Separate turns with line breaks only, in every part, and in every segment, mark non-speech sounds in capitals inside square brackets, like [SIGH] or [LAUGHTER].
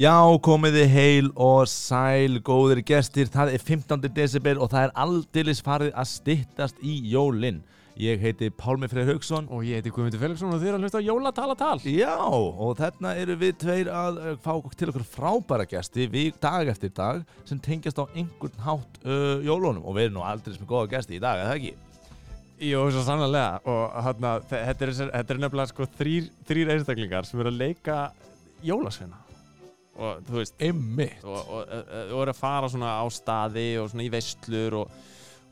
Já, komiði heil og sæl, góðir gestir, það er 15. desibel og það er aldeilis farið að styttast í jólinn. Ég heiti Pálmi Freyr Haugsson.
Og ég heiti Guðmundur Felixson og þið eru að hlusta á Jólatalatal
Já, og þarna eru við tveir að uh, fá til okkur frábæra gesti við dag eftir dag sem tengjast á einhvern hátt uh, jólunum og við erum nú aldeilis með góða gesti í dag, er það ekki?
Jó, svo sannlega Og hérna, þe- þetta er, þetta er nefnilega sko þrýr, þrýr einstaklingar sem eru að leika jólasveina Og þú veist
Einmitt.
Og, og, og, og eru að fara svona á staði og svona í vestlur og,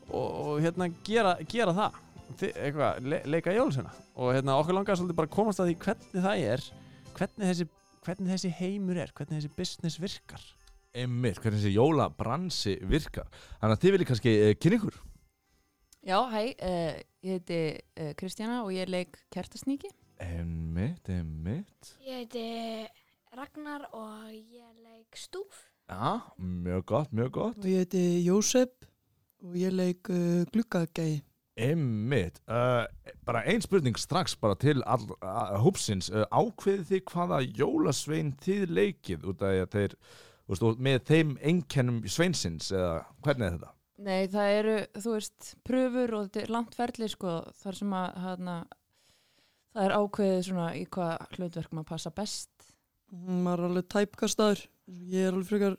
og, og hérna gera, gera það Þi, eitthvað, le, leika jólasveina Og hérna okkur langar svolítið bara að komast að því hvernig það er Hvernig þessi, hvernig þessi heimur er, hvernig þessi business virkar
Einmitt, hvernig þessi jólabransi virkar. Þannig að þið viljið kannski uh, kynna ykkur.
Já, hæ, uh, ég heiti uh, Kristjana og ég leik kertasníki.
Einmitt, einmitt.
Ég heiti Ragnar og ég leik stúf.
Já, mjög gott, mjög gott.
og ég heiti Jósef og ég leik uh, gluggagæi.
Einmitt, uh, bara ein spurning strax bara til all, uh, hópsins, uh, ákveðið þið hvaða jólasvein þið leikið út af því að þeir, þú veist, og með þeim einkennum sveinsins eða hvernig er þetta?
Nei, það eru, þú veist, pröfur og þetta er langt ferli, sko, þar sem að, hana, það er ákveðið svona í hvað hlutverk maður passa best.
Mm, Maður er alveg tæpkastaður. Ég er alveg frekar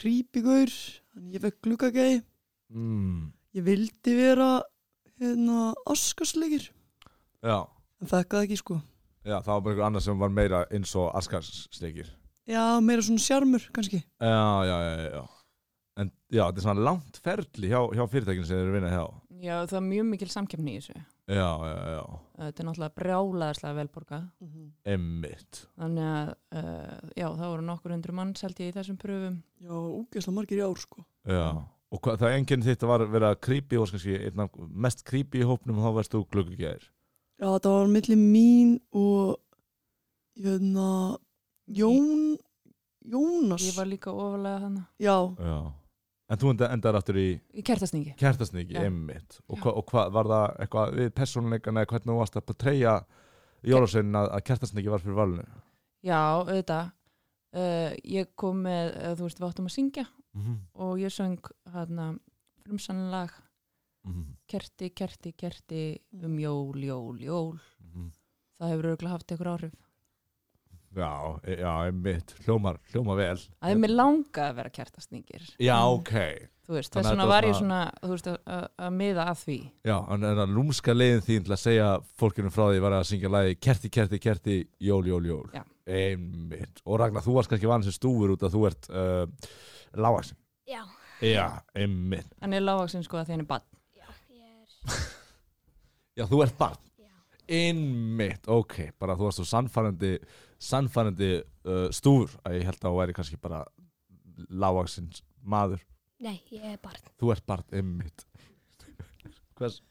creepygur, þannig ég fekk gluggagæi.
Mm.
Ég vildi vera hérna áskasleikir,
Já,
en fekk það ekki sko.
já, það var bara einhver annar sem var meira eins og askarsleikir.
Já, meira svona sjarmur kannski.
Já, já, já, já, já. En já, þetta er svona langt ferli hjá, hjá fyrirtækinu sem þeir eru að vinna hjá.
Já, það er mjög mikil samkefni í þessu.
Já, já, já,
Þetta er náttúrulega brjálaðislega velborgað.
einmitt.
Þannig að, uh, já, það voru nokkur hundru manns held ég í þessum pröfum.
Já, úgeðslega margir í ár sko.
Já, og hvað, það enginn þitt var að vera creepy og kannski einn af mest creepy í hópnum og þá verðst þú gluggugjær.
Já, það var milli mín og hérna Jón, Jónas.
Ég, ég var líka ofalega þannig.
Já,
Já. En þú enda, endar aftur í
Í kertasníki.
kertasnyggi,
Já.
einmitt. Og, hva, og hvað var það eitthvað við persónuleikana eða hvernig þú varst að treyja jólasveinin að, að kertasnyggi var fyrir valinu?
Já, auðvitað. Uh, ég kom með, uh, þú veist, við áttum að syngja
Mm -hmm.
og ég söng hérna frumsannlag
Mhm.
kerti, kerti, kerti um jól, jól, jól
Mhm.
það hefur örgulega haft einhver áhrif
Já, e- já, einmitt. Hljómar, hljómar vel.
að mér langaði að vera kertasningir
Já, ok.
þú
Þannig
veist, þess
að
vegna
þetta var
var ég svona
svona-
þú veist, að- að að miða að því
Já, en en að lúmska leiðin þín til að segja fólkinu frá því var að syngja lagi kerti, kerti, kerti, jól, jól, jól.
Já.
Einmitt. Og Ragnar, þú varst kannski vann sem stúfur út að þú ert uh, lágaksin.
Já,
Já, einmitt.
hann er lágvaksinn sko að því hann er bann
já, ég er,
Já, þú ert barn.
já,
Einmitt, ok, bara þú varst svo sannfærandi, sannfærandi uh, stúfur að ég held að þú væri kannski bara lágaksin maður.
nei, ég er barn.
Þú ert barn, einmitt. [LAUGHS] Hvers,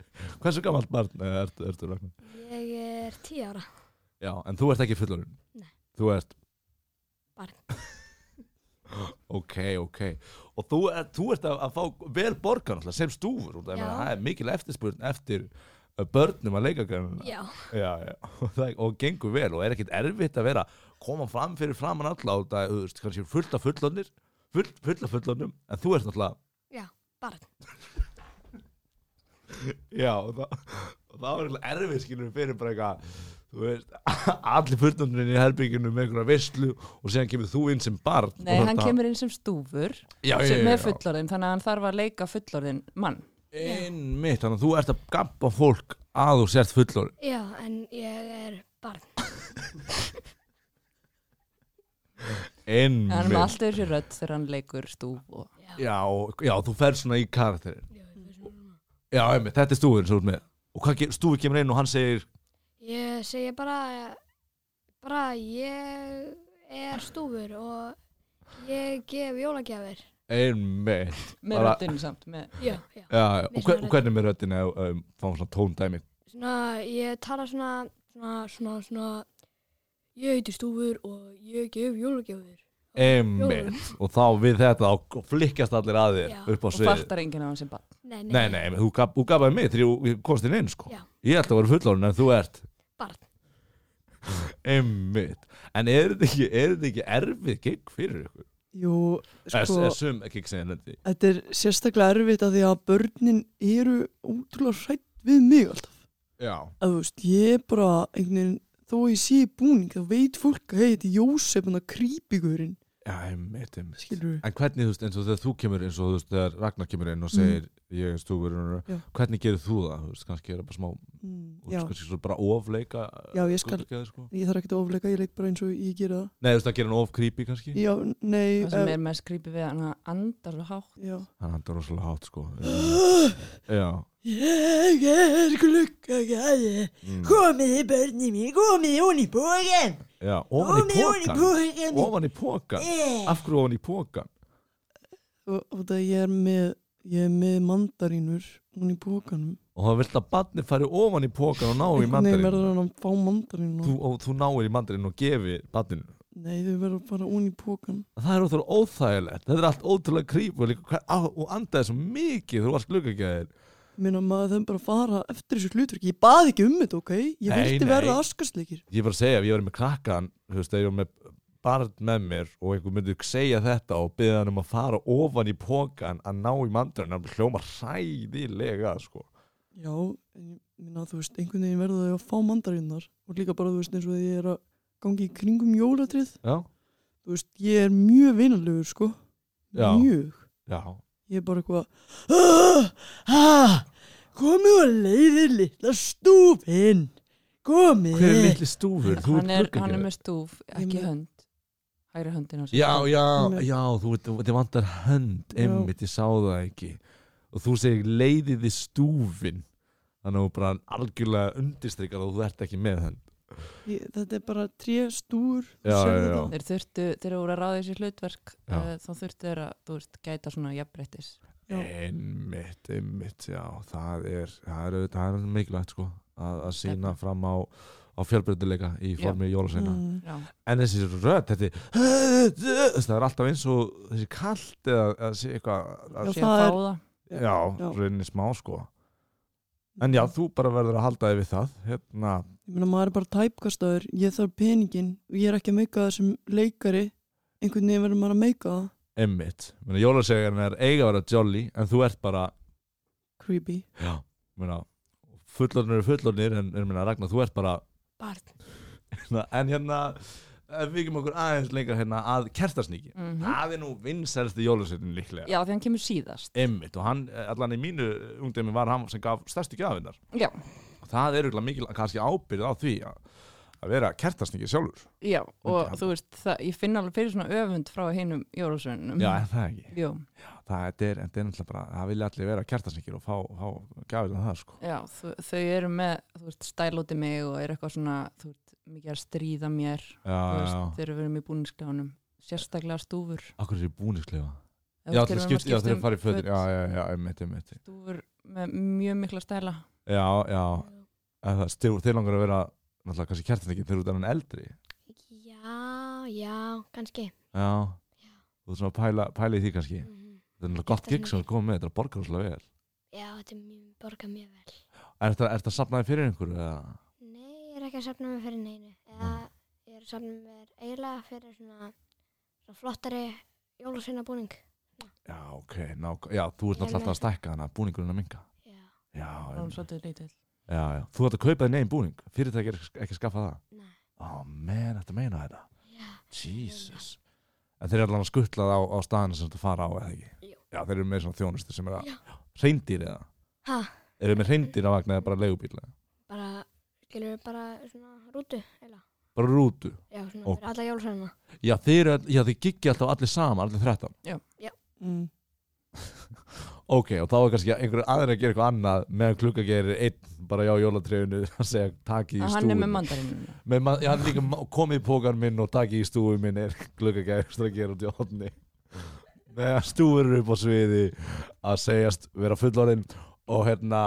hversu gamalt barn eh, ertu, ertu Ragnar?
Ég er tíu ára.
Já, en þú ert ekki fullorinn?
Nei.
Þú ert?
Barn.
[LAUGHS] ok, ok. Og þú, ert- þú ert að, að fá vel borgar náttúrulega sem stúfur. út af- ég meina,
Já.
Það er mikil eftirspurn eftir uh, börnum að leikagrænum.
Já,
Já, já. [LAUGHS] Og, það, og gengur vel og er ekkit erfitt að vera koma fram fyrir framann alla og það þú veist, kannski fullt af fullornir, full, full af fullornum, en þú ert náttúrulega
já, barn.
Já, og það, og það var eitthvað erfið skilur fyrir bara eitthvað þú veist, [LAUGHS] allir fullnöndurinn í herbygginu með einhverja veistlu og síðan kemur þú inn sem barn
nei,
og
hann
þetta-
kemur inn sem stúfur
já, já,
sem
já,
er fullorðin, þannig að hann þarf að leika fullorðin mann
Einmitt, þannig að þú ert að gampa fólk að þú sért fullor
Já, en ég er barn.
en hann er
Einmitt
alltaf þessi rödd þegar hann leikur stúf og...
já, já, þú ferð svona í karakterin
Já, ég er svona.
Já, einmitt, þetta er stúfurinn svo út með Og hvað ge- stúfi kemur inn og hann segir
Ég segi bara, bara ég er stúfur og ég gef jólagjafir.
Einmitt
með
Bara-
röddinni samt með...
Já, já.
Já, já,
Með
og, hver,
svona
og hvernig með röddina um, fáum svona tóndæmi
Svona, ég tala svona, svona, svona, svona, ég heiti stúfur og ég gef jólagjafir.
Einmitt, og þá við þetta þá flikkast allir að þér
Já.
upp á
og
svið
fattar enginn á hann sem bann
Nei,
Nei, nei, men þú, gaf, þú gafaði mig þegar ég komst inn inn sko.
Já.
Ég ætla að vera fullorinn en þú ert
Barn.
[LAUGHS] einmitt en er þetta ekki, er þetta ekki erfið gig fyrir ykkur?
Jú,
Sko,
sko,
er sum gig sem er lendi
þetta er sérstaklega erfitt að því að börnin eru ótrúlega hrætt við mig alltaf.
já,
Að þú veist, ég er bara einhvern veginn, þó ég sé í búning, þá veit fólk að hei, þetta er Jósef, hann að krýpigurinn,
já, einmitt, einmitt
skilur við.
en hvernig, þú veist, eins og þegar þú kemur eins og þú veist, þegar Ragnar kemur inn og segir ég eins þú verður,
Mm. Já.
hvernig gerir þú það? Þú veist, kannski er það bara smá, þú
Já,
veist, kannski svo bara ofleika
Mm, Já, ég skal-
hlutverkið, sko.
ég þarf ekkert að ofleika, ég leik bara eins og ég gera það.
Nei, þú veist, það gerir hann of creepy kannski
Já, nei,
það sem
eh,
er mest skrýpi við hann að andar svo hátt
já.
hann handar rosalega hátt,
[GASPS]
sko já,
Ég er glukkagæði
mm.
Komiði börni mín, komiði hún í bógan
já ofan í pókan ofan
bógan
í pókan
Eh.
af hverju ofan í pókan
Og og það ég er með Ég er með mandarínur Hún í bókanum
og það vilt að badni fari ofan í pókan og ná í
Nei,
mandarinn
verður hann að fá mandarínu
þú, og þú náir í mandarinn og gefi badninu
Nei, þau verður bara hún í bókan
það er ótrúlega óþægilegt þetta er allt ótrúlega creepy og, líka, hva, á, og andaði svo mikið þú varst gluggagjæðir
Minna maður þau bara fara eftir þessu hlutverki Ég baði ekki um þetta, ok? Ég
Nei,
vildi
nei.
verða askastleikir
ég er bara að segja ef ég var með krakkan þú veist, þegar ég var með barn með mér og einhver myndi segja þetta og byggði hann um að fara ofan í pókan að ná í mandarinn það hljóma hræðilega sko.
Já, en ég minna þú veist Einhvern veginn verður þau að fá mandarínar Og líka bara þú veist eins og því ég er að gangi í kringum jólatrið
já,
Þú veist, ég er mjög vinalegur, sko
Já.
Mjög
já,
Ég er bara eitthvað "Ah, ah, Komið og leiðið litla stúfinn Komið
hver er litli stúfur þú
hann er, hann er
gluggagjæðir
með stúf,
Ég
ekki
með-
hönd hægri höndin á sér
já, já,
Með-
já, þú veit, þetta vantar hönd
Já.
einmitt, ég sá það ekki og þú segir leiðið í stúfin þannig að þú bara algjörlega undirstrykar að þú ert ekki með hönd
ég, Þetta er bara tré stúr
Já, já, já.
já.
þeir þurftu, þeir voru að ráða í sér hlutverk
Já.
uh, þá þurftu þeir að, þú veist, gæta svona jafnbrettis
Já.
einmitt, einmitt, já það er, það er, auðvitað- það er mikilvægt sko, að, að sína fram á á fjölbreytileika í formi jólasveina
Mm.
já,
en þessi rödd, þetta er það er alltaf eins og þessi kalt eða, eða sé eitthvað að,
Já,
sé
það
að fá
er-
það
já, já.
Já.
rauninni smá sko en já, þú bara verður að halda þig við það hérna,
Ég meina maður er bara tæpkastaður Ég þarf peningin og ég er ekki að meika það sem leikari Einhvern veginn verður maður að meika það
einmitt jólasegarinn er eiga að vera jolly en þú ert bara
Creepy
já, meina, fullornir er fullornir en en meina, Ragnar, þú ert bara
Barn.
Na, en hérna ef við kemum okkur aðeins lengra hérna að kertasníki
Mhm.
það er nú vinsælsti jólasveitin líklega
já, því hann kemur síðast
einmitt og hann, eh, allan í mínu ungdæmi var hann sem gaf stærstu gjafinnar
já,
það er auðvitað mikil kannski ábyrð á því að, að vera kertasníki sjálfur
já, og
Myndi hann-
þú veist, það, ég finn alveg fyrir svona öfund frá hinum jólasvönunum
já, en það ekki
Jú,
það þetta er, en þetta er náttúrulega bara, það vilja allir vera kertasníkir og fá, fá gjafinnar það sko
já þau, þau eru með, þú veist, stælóti mig og eru eitthvað svona, þú veist, mikið að stríða mér
já,
þú
já,
veist,
Ah, já,
þeir eru verið með búninsklefanum sérstaklega stúfur
akkur er í búnisklefa
Ef
já,
við
þeir
erum að
skipt, já,
skipta
þeir
um
farið fötir
föt,
já, já, já, einmitt, einmitt
stúfur með mjög mikla stæla
já, já, en það, styr, þeir langar að vera náttúrulega kannski kertasníkir þegar út af hann eldri
Já, já, kannski.
Já, þú ert svona að pæla, pæla í því kannski
Mhm.
Þetta er náttúrulega gott
Þetta er
gig sem þú komið með, þetta er borgar húslega vel
Já, þetta er mjög, borga mjög vel.
Er þetta að sapna þig fyrir einhverju? eða?
Nei, ég er ekki að safna mér fyrir neinu. Eða ég er að safna mér eiginlega fyrir svona, svona flottari jólasveinabúning.
Já, ok, ná, já, þú ert
Ég er
náttúrulega alltaf
með-
að stækka þannig að búningurinn er að minga
Já,
Já,
þá er
einmitt.
svolítið lítill
já, já, þú ert að kaupa þig negin búning Fyrirtæki er ekki að skaffa það
Nei.
Ó, menn, þetta meina þetta
já.
Jesus En þeir eru allan að skutlað á, á staðinu sem þetta fara á eða ekki
Jú.
Já, þeir eru með svona þjónustu sem er að
Já.
Reindýr eða
Ha,
Eru með reindýr á vagn eða bara leigubíl eða?
bara, skilur við bara svona rútu, eiginlega.
Bara rútu
Já, svona
Og-
fyrir alla jólasveinana.
Já, þeir, eru öll- já, þeir giggi alltaf allir saman, allir 13
mm.
Ok, og þá er kannski einhver aðeins að gera eitthvað annað meðan klukka gerir einn bara já jólatrefinu að segja takið í
að hann er
stúfum
með mandarinu
með ma- já, hann líka ma- komið í pókan minn og takið í stúfum minn er klukka gerir að gera út í hodni meðan stúfur eru upp á sviði að segjast vera fullorinn og hérna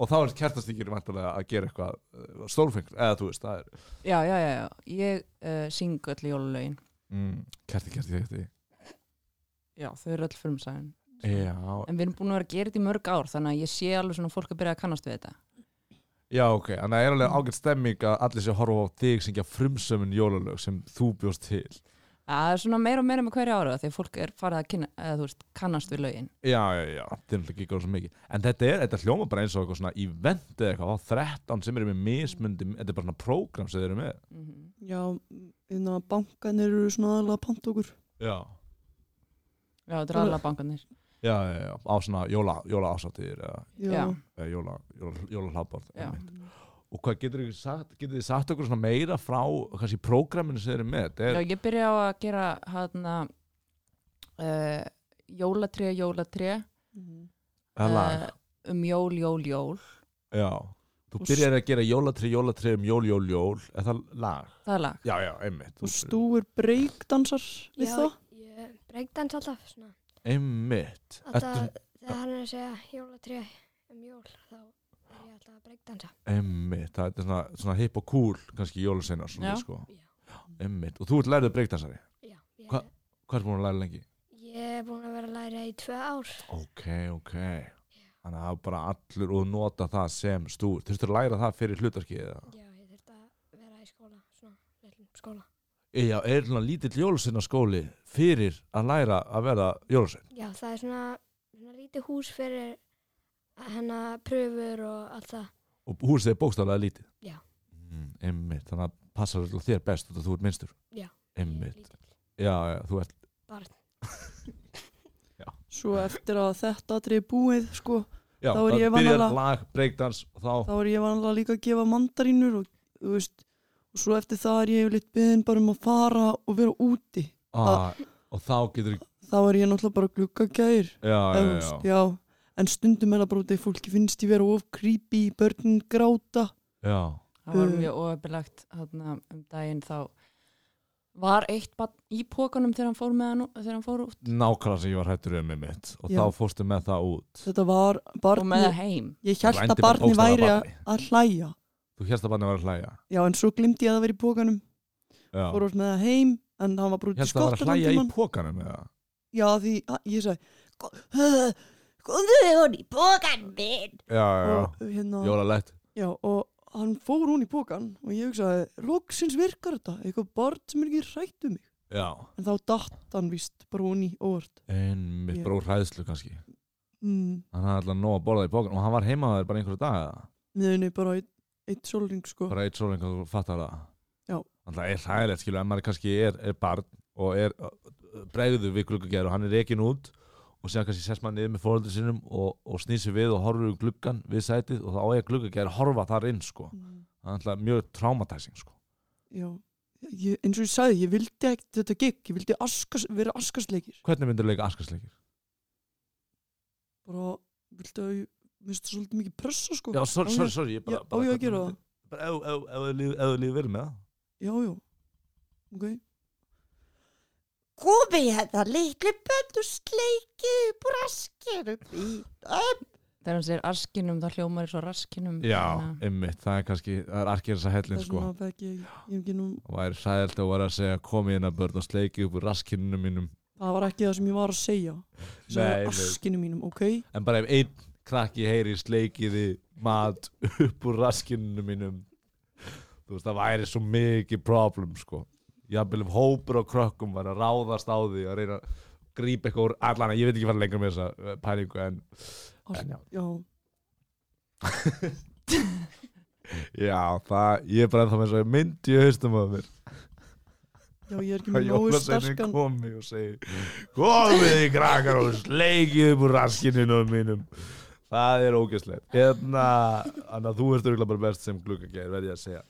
og þá er kertastíkir vantarlega að gera eitthvað stórfengur, eða þú veist, það er
já, já, já, já, ég uh, syng öll jólulegin
mm, kerti, kerti, kerti
já, þau eru öll frumsæðin
Já,
en við erum búin að vera að gera þetta í mörg ár þannig að ég sé alveg svona fólk að byrja að kannast við þetta
Já, ok, þannig að það er alveg ágætt stemming að allir sé að horfa á þig syngja frumsömmin jólalög sem þú bjóst til.
það er svona meira og meira með hverja ára þegar fólk er farið að kynna, eða, þú veist, kannast við lögin
Já, já, já, þetta er náttúrulega ekki góð svo mikið. En þetta er, þetta hljóma bara eins og eitthvað svona event eða eitthvað, þá 13 sem eru með mismundi, þetta er bara svona prógram sem þeir eru með.
mm
Já, innan að bankanir eru svona aðalega að panta okkur.
Já.
Já, þetta er aðla bankanir
Já, já, já, á svona jóla, jóla ásáttir eða,
Já,
eða jóla, jóla, jóla hlaðborð.
Já.
Og hvað getur þið sagt, getur þið sagt okkur svona meira frá, kannski, prógraminu sem þeir eru með? Þetta
Já,
Er,
ég byrja á að gera hana uh, jólatré, jólatré
Mhm.
það er lag.
eh, um jól, jól, jól
Já. Þú
Og
byrjar að gera jólatri, jólatri um jól, jól, jól, er það lag?
það er lag
Já, já, einmitt.
Og stúir breakdansar við
Já,
það.
Ég breakdans alltaf svona.
Einmitt. Ertu,
Alltaf þegar hann er að segja jólatré um jól þá er ég alltaf að breakdansa.
einmitt, það er svona, svona hip og cool, kannski jólaseinar svona,
Já.
sko.
Já.
Einmitt. Og þú ert lærið breykdansari.
Já, ég,
Hva- Hvað er búin að læra lengi?
ég er búin að vera að læra í tvö ár.
Ok, ok. Þannig að það er bara allur og nota það sem stúr. Þurftur að læra það fyrir hlutarkið eða?
Já, ég þurfti að vera í skóla, svona, litlum skóla.
Já, er svona lítill jólaseinarskóli fyrir að læra að vera jólasein?
Já, það er svona, svona lítið hús fyrir hennar pröfur og allt það.
Og húsið er bókstaflega lítið?
Já.
Mm, einmitt, þannig að passar alltaf þér best út að þú ert minnstur?
Já.
Einmitt.
Ég er lítill
Já, já, þú ert
Barn.
Svo eftir að þetta atrið er búið, sko,
Já,
Þá er ég
byrjar
vanalega-
lag, breakdance og þá,
þá er ég vanlega líka að gefa mandarínur og, þú veist, og svo eftir það er ég yfirleitt beðin bara um að fara og vera úti.
ah, og þá getur já,
Þá er ég náttúrulega bara gluggagæðir.
já,
já,
já,
já. En stundum er það bara út af fólki finnst ég vera of creepy, börnin gráta.
já.
það var
Mm.
mjög óöfnilegt hana, um daginn þá var eitt barn í pókanum þegar hann fór með hann þegar hann fór út
nákvæmlega sem ég var hættur um með mitt og
Já.
þá fórstu með það út
Þetta var
og með það
barni,
heim
ég held
Rændi
að
bara
barni
bókstaflega
væri að,
barni.
að hlæja.
þú hérst að banna var að hlæja
Já, en svo glimti ég að það verið í pókanum, fór
já.
oss með það heim, en hann var bara út í
hérst að var að
skottalandi
hlæja í
mann.
pókanum eða?
Já, því að, ég sagði, "Ko-
Komðu hún í bókan minn.
já, já,
og, hérna,
já, jólalegt
já, og hann fór hún í pókan og ég hugsaði, loksins virkar þetta, eitthvað barn sem er ekki hrætt um mig.
já,
En þá datt hann víst, bara hún í óvart.
einmitt
Já.
bara úr hræðslu kannski
Mm,
hann hafði alltaf nóg að borða í pókanum og hann var heima þær bara einhverju dag eða?
Miðunni bara eitt, eitt sólring, sko.
bara eitt sóling og þú fattar það
Já.
alltaf er hræðilegt skilu en maður kannski er, er barn og er bregður við gluggagerð og hann er rekin út og síðan kannski sest maður niður með fóröldur sinum og, og snýr sér við og horfur um gluggan við sætið og þá er gluggagerð að horfa þar inn sko.
Mm.
það er alltaf mjög traumatizing sko.
Já, ég, eins og ég sagði, ég vildi ekkert þetta gikk, ég vildi askas, vera askasleikir.
hvernig myndur leika askarsleikir?
Bara, vildi að ég, mér finnst það svolítið mikið pressa, sko.
já, sorry,
Á ég-
sorry, sorry ég bara,
Já, á
bara,
ég að gera það?
bara ef- ef- ef þú líður- ef þú líður vel með það
Já, já, ok.
Komðu hérna litlu bönn og sleikið upp úr askinum í öpp.
þegar hann segir askinum þá hljómar svo raskinum
já,
þannig
einmitt, það er kannski það er arkir þessa hellin
Það
sko.
svona fekk ég, ég hef ekki nú,
og það er hræðilt að vera að segja komið hérna börn og sleikið upp úr raskinninu mínum
það var ekki það sem ég var að segja. Ég
Nei,
Sagði
nei.
askinu mínum, ok?
en bara ef einn krakki heyri sleikiði mat [LAUGHS] upp úr raskinninu mínum þú veist það væri svo mikið problem sko jafnvel ef hópur á krökkum var að ráðast á því að reyna að grípa eitthvað úr allan ég veit ekki fara lengra með þessa eh, pælingu en,
As,
en já.
já,
já það ég er bara ennþá með þess að myndi í haustum að mér
já, ég
[LAUGHS]
er ekki
að
með nógu
jólaseinni
sterkan,
komi og segi komið í krakkar og sleikið upp úr raskinninu mínum það er ógæslegt hérna, þannig að þú ert örgulega bara best sem gluggageir verði ég að segja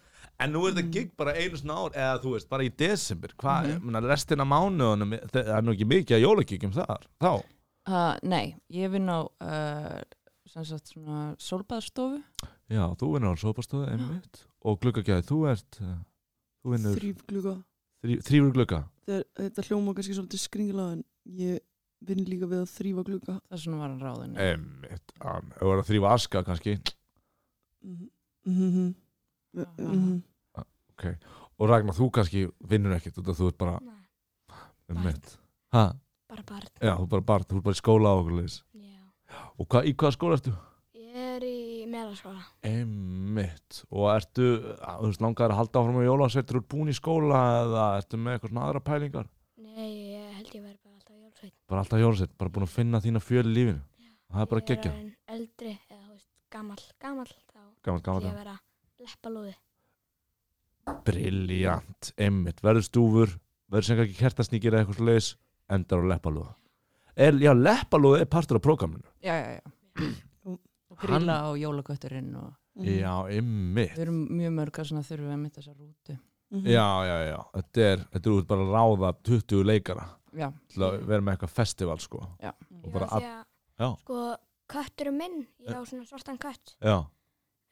en nú er þetta gig bara einu svona ár eða þú veist, bara í desember hvað, mm -hmm. restina mánuðunum það er nú ekki mikið að jólagigjum þar þá,
að, nei, ég vinn á uh, sem sagt svona sólbaðstofu
já, þú vinnur á sópastöðu einmitt og gluggageir, þú ert eh, þú vinnur
þrýfgluga.
þrý, þrýfur glugga
Þetta hljóma kannski svolítið skringla, en ég vinn líka við að þrýfa gluga.
þess vegna var hann ráðin
einmitt, um, ef þú verður að þrýfa aska kannski
Mhm, mhm,
Já, já.
mhm.
og Ragnar, þú kannski vinnur ekkert út af þú ert bara
Nei,
einmitt, hæ?
bara barn.
Já, þú er bara barn, þú er bara í skóla og okkur leis.
Já.
Og hva, í hvaða skóla ertu?
Ég er í meðalskóla.
Einmitt. Og ertu, að, þú veist, langar að halda áfram á jólasveitur úr búin í skóla eða ertu með eitthvað svona aðra pælingar?
Nei, ég held ég verið bara alltaf jólsveit.
Bara alltaf jólasveit, bara búin að finna þína fjöl í lífinu. Það er bara geggja.
Ég er orðinn eldri, eða þú veist, gamall, gamall, þá
Gaman, gaman,
ætla ég
gaman.
að vera leppalúði.
Briljant. Einmitt. Verður stúfur, verður sem ekki kertasníkir eða eitthvað svo leis, endar á leppalúða. Er, já, leppalúða er partur af prógraminu.
já, já, já.
Ú.
og grilla á jólakötturinn og
Mhm. Mm.
Já, einmitt.
við erum mjög mörg að svona þurfum við að mynda þessa rútu
Mhm.
Já, já, já. Þetta er, þetta er út bara að ráða 20 leikara
já,
til að vera með eitthvað festival, sko. Og bara Eh.
Því að,
Já.
sko, kötturum minn, ég á svona svartan kött.
Já,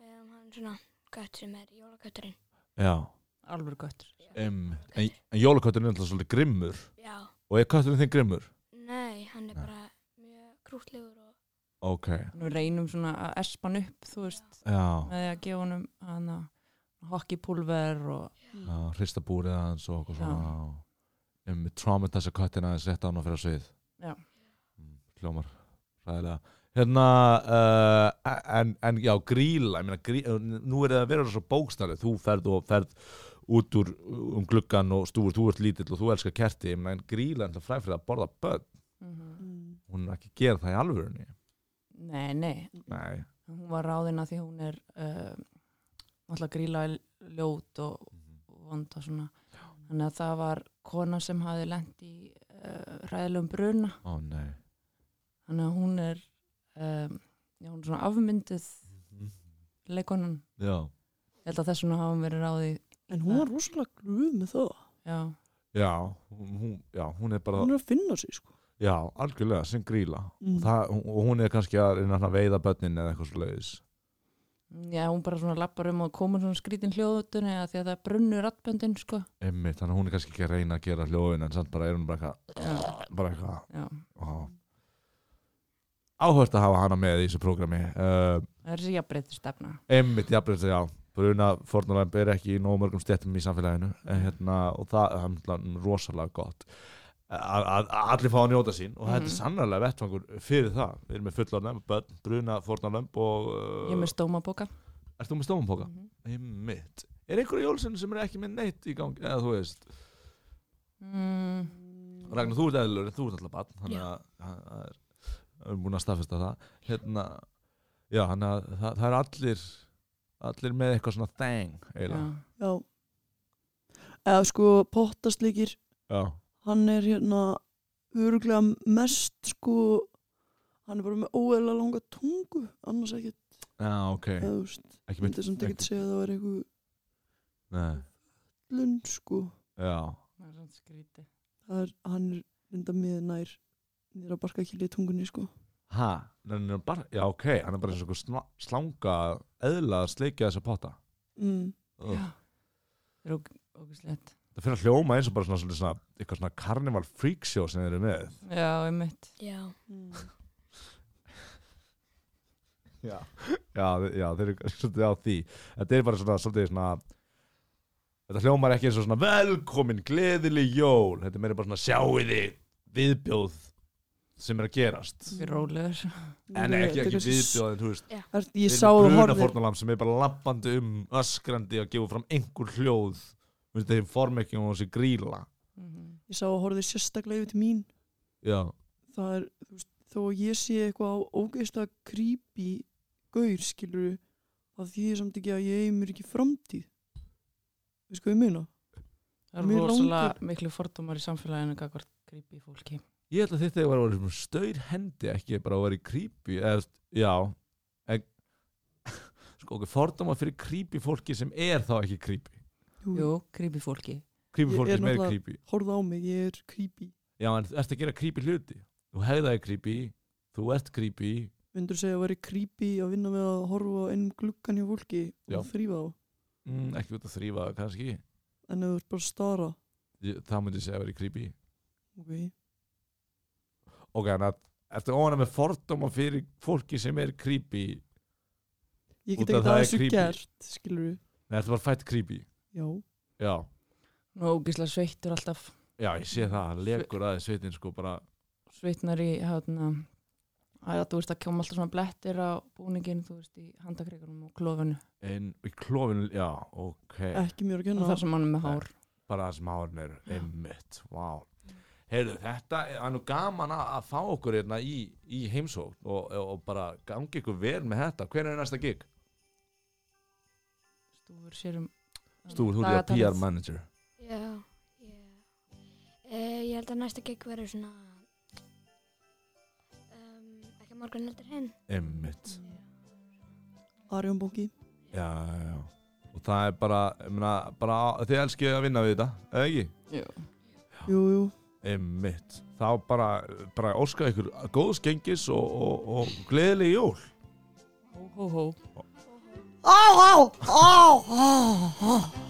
Um, hann er svona kött sem er jólakötturinn.
já.
alveg köttur
Um, en en jólakötturinn er alltaf svolítið grimmur
Já,
og er kötturinn þinn grimmur?
nei, hann er
Nei.
bara mjög krútlegur og
Ok,
við reynum svona að espa hann upp þú veist,
já,
með því að gefa honum hana hockeypulver og
já hrista búrið aðeins og okkur svona um, traumatasa köttin aðeins rétt án og fyrir svið
Já.
Mm, Hljómar, ræðilega Hérna, uh, en, en já, gríla, ég meina, grí, nú er það að vera svo bókstæli, þú ferð og ferð út úr um gluggan og stúfur, þú ert lítill og þú elskar kerti, ég meina, en gríla er alltaf fræðfrið að borða börn,
mm
Mhm.
hún er ekki að gera það í alvörunni.
nei, nei,
Nei.
hún var ráðin að því hún er uh, alltaf gríla er ljót og og vond og svona þannig að það var kona sem hafi lent í uh, ræðilegum bruna
Ó, nei.
þannig að hún er um, já, hún er svona afmynduð leikonan
Já.
ég held að þess vegna hafa hún verið ráði
En hún var rosalega glöð með það.
já,
Já, hún, hún- já, hún er bara
Hún er að finna sig, sko.
já, algjörlega, sem gríla
Mm.
og, það, hún- og hún er kannski að reyna að veiða börnin eða eitthvað svo leiðis
já, hún bara svona lappar um og komur svona skrítin hljóðutunni að því að það brunnur rattböndin sko
Einmitt, þannig að hún er kannski ekki að reyna að gera hljóðin en samt bara er hún bara
já,
eitthvað bara eitthvað
já.
ó. Áhört að hafa hana með í þessu prógrami uh,
það er þessi jafnbreytti stefna
Einmitt, jafnveg, já Bruna fornulegum er ekki í nóg mörgum stjættum í samfélaginu en, hérna, og það er náttúrulega rosalega gott að að- að allir fá að njóta sín og þetta er
Mhm.
sannarlega vettvangur fyrir það við erum með fullorðnum, börn, bruna, fornalömb og uh,
ég er með stómabóka
Ert þú með stómanpoka?
Mhm.
Einmitt Er einhverju jólsinn sem er ekki með neitt í gangi eða þú veist
mm,
Ragnar, þú ert eðlur en þú ert alltaf barn þannig að að- að er- við erum búin að staðfesta það hérna, Já, þannig að það, það er allir allir með eitthvað svona thing
já,
eiginlega.
Já. Eða sko, pottasleikir,
Já,
hann er hérna öruglega mest, sko, hann er bara með óeðlega langa tungu, annars ekkert,
já, ok
eða þú veist,
Ekki mynd
myndi samt ekkert segja að það var eitthvað
Nei,
lund, sko.
já,
það er svona skríti
Það er, hann er mynda með nær, nýra barka ekki í tungunni, sko.
ha Nei, nei, nei, bara, Já, ok, hann er bara eins og einhver sna- slanga eðla að sleikja þessa potta
Mm.
Ugh.
já, það er ógæslegt
Það fyrir að hljóma eins og bara svona, svona, svona eitthvað svona carnival freak show sem þeir eru með
já, einmitt
já,
Mm.
já, já, þe- já þeir eru [LAUGHS] kannski svolítið á því þetta er bara svona, svolítið svona þetta hljómar ekki eins og svona velkomin, gleðileg jól þetta er meira bara svona sjáiði viðbjóð sem er að gerast
við rólegur
en ekki,
Þetta er
ekki
kannski-
viðbjóð en þú veist,
Ert- Ég
þeir
sá
eru
og
bruna
horfði
fórnalam sem er bara lappandi um öskrandi að gefa fram einhver hljóð Þú veist, þeir form ekki um þessi gríla
mm -hmm.
Ég sá og horfði sérstaklega yfir til mín
já,
það er, þú veist, þó að ég sé eitthvað á ógeðslega creepy gaur, skilur að því er samt ekki að ég eigi mér ekki framtíð veist hvað ég meina?
Það eru
Mjög
rosalega
langur.
miklu fordómar í samfélaginu gagvart grípi fólki.
ég ætla að þetta var að vera svona staur hendi ekki bara að vera í creepy eða, já en, [LAUGHS] sko ok, fordóma fyrir creepy fólki sem er þá ekki creepy
Jú, grípi fólki.
creepy
Ég
fólki
er
sem er
náttúrulega-
creepy
horfði á mig, ég er creepy
já, en þú ert að gera creepy hluti þú hegðaði creepy, þú ert creepy
myndur segja að væri creepy að vinna með að horfa á einum gluggan hjá fólki
Já.
og þrýfa á,
mm, ekki út að þrýfa það kannski
en ef þú ert bara að stara
Ég- það myndi ég segja að vera í creepy
ok,
ok, en að ertu óana með fordóma fyrir fólki sem er creepy
ég
Út af
get ekki
það
það
er
þessu
creepy.
gert skilur
Nei, ertu bara fætt creepy
já,
já,
Nú ógislega sveittur alltaf.
já, ég sé það, hann legur aðeins sveitin sko bara
Sveitnar í hérna, að þú veist að kjóma alltaf svona blettir á búningin, þú veist, í handakreikunum og klofinu,
En í klófinu, já, ok
ekki mér að
og
kenna
þar sem hann er með hár
bara það sem árin er einmitt, vá Heyrðu, þetta er það er nú gaman að, að fá okkur hérna í, í heimsókn og, og bara gangi ykkur vel með þetta Hver er næsta gig?
stúfur sér um
Stúfur, þú er PR manager
Já, já. Uh, ég held að næsta gig verður svona um, ekki á morgun heldur hinn.
Einmitt,
Arjón Bóki
já, já, já Og það er bara, ég meina, bara þið elskið að vinna við þetta, eða ekki?
Jú, jú,
Einmitt, þá bara, bara óska ykkur góðs gengis og, og, og gleðileg jól
Hó, hó, hó
Ó, ó, ó, ó, ó.